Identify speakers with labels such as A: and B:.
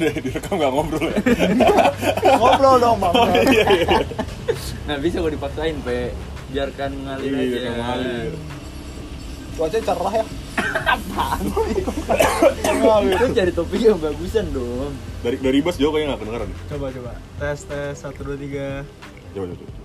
A: udah direkam gak ngobrol ya?
B: Ngobrol dong, Bang.
A: Oh, iya, iya.
C: nah bisa gue dipaksain pe biarkan ngalir
A: Iya,
C: aja
A: direkam ngalir.
B: Cuaca cerah ya.
C: apaan sih?
B: Cerah
C: itu
B: gitu.
C: cari topik yang bagusan dong
A: Dari dari bas jauh kayaknya gak kedengeran.
D: Coba coba. Tes tes 1 2 3.
A: Coba coba. coba.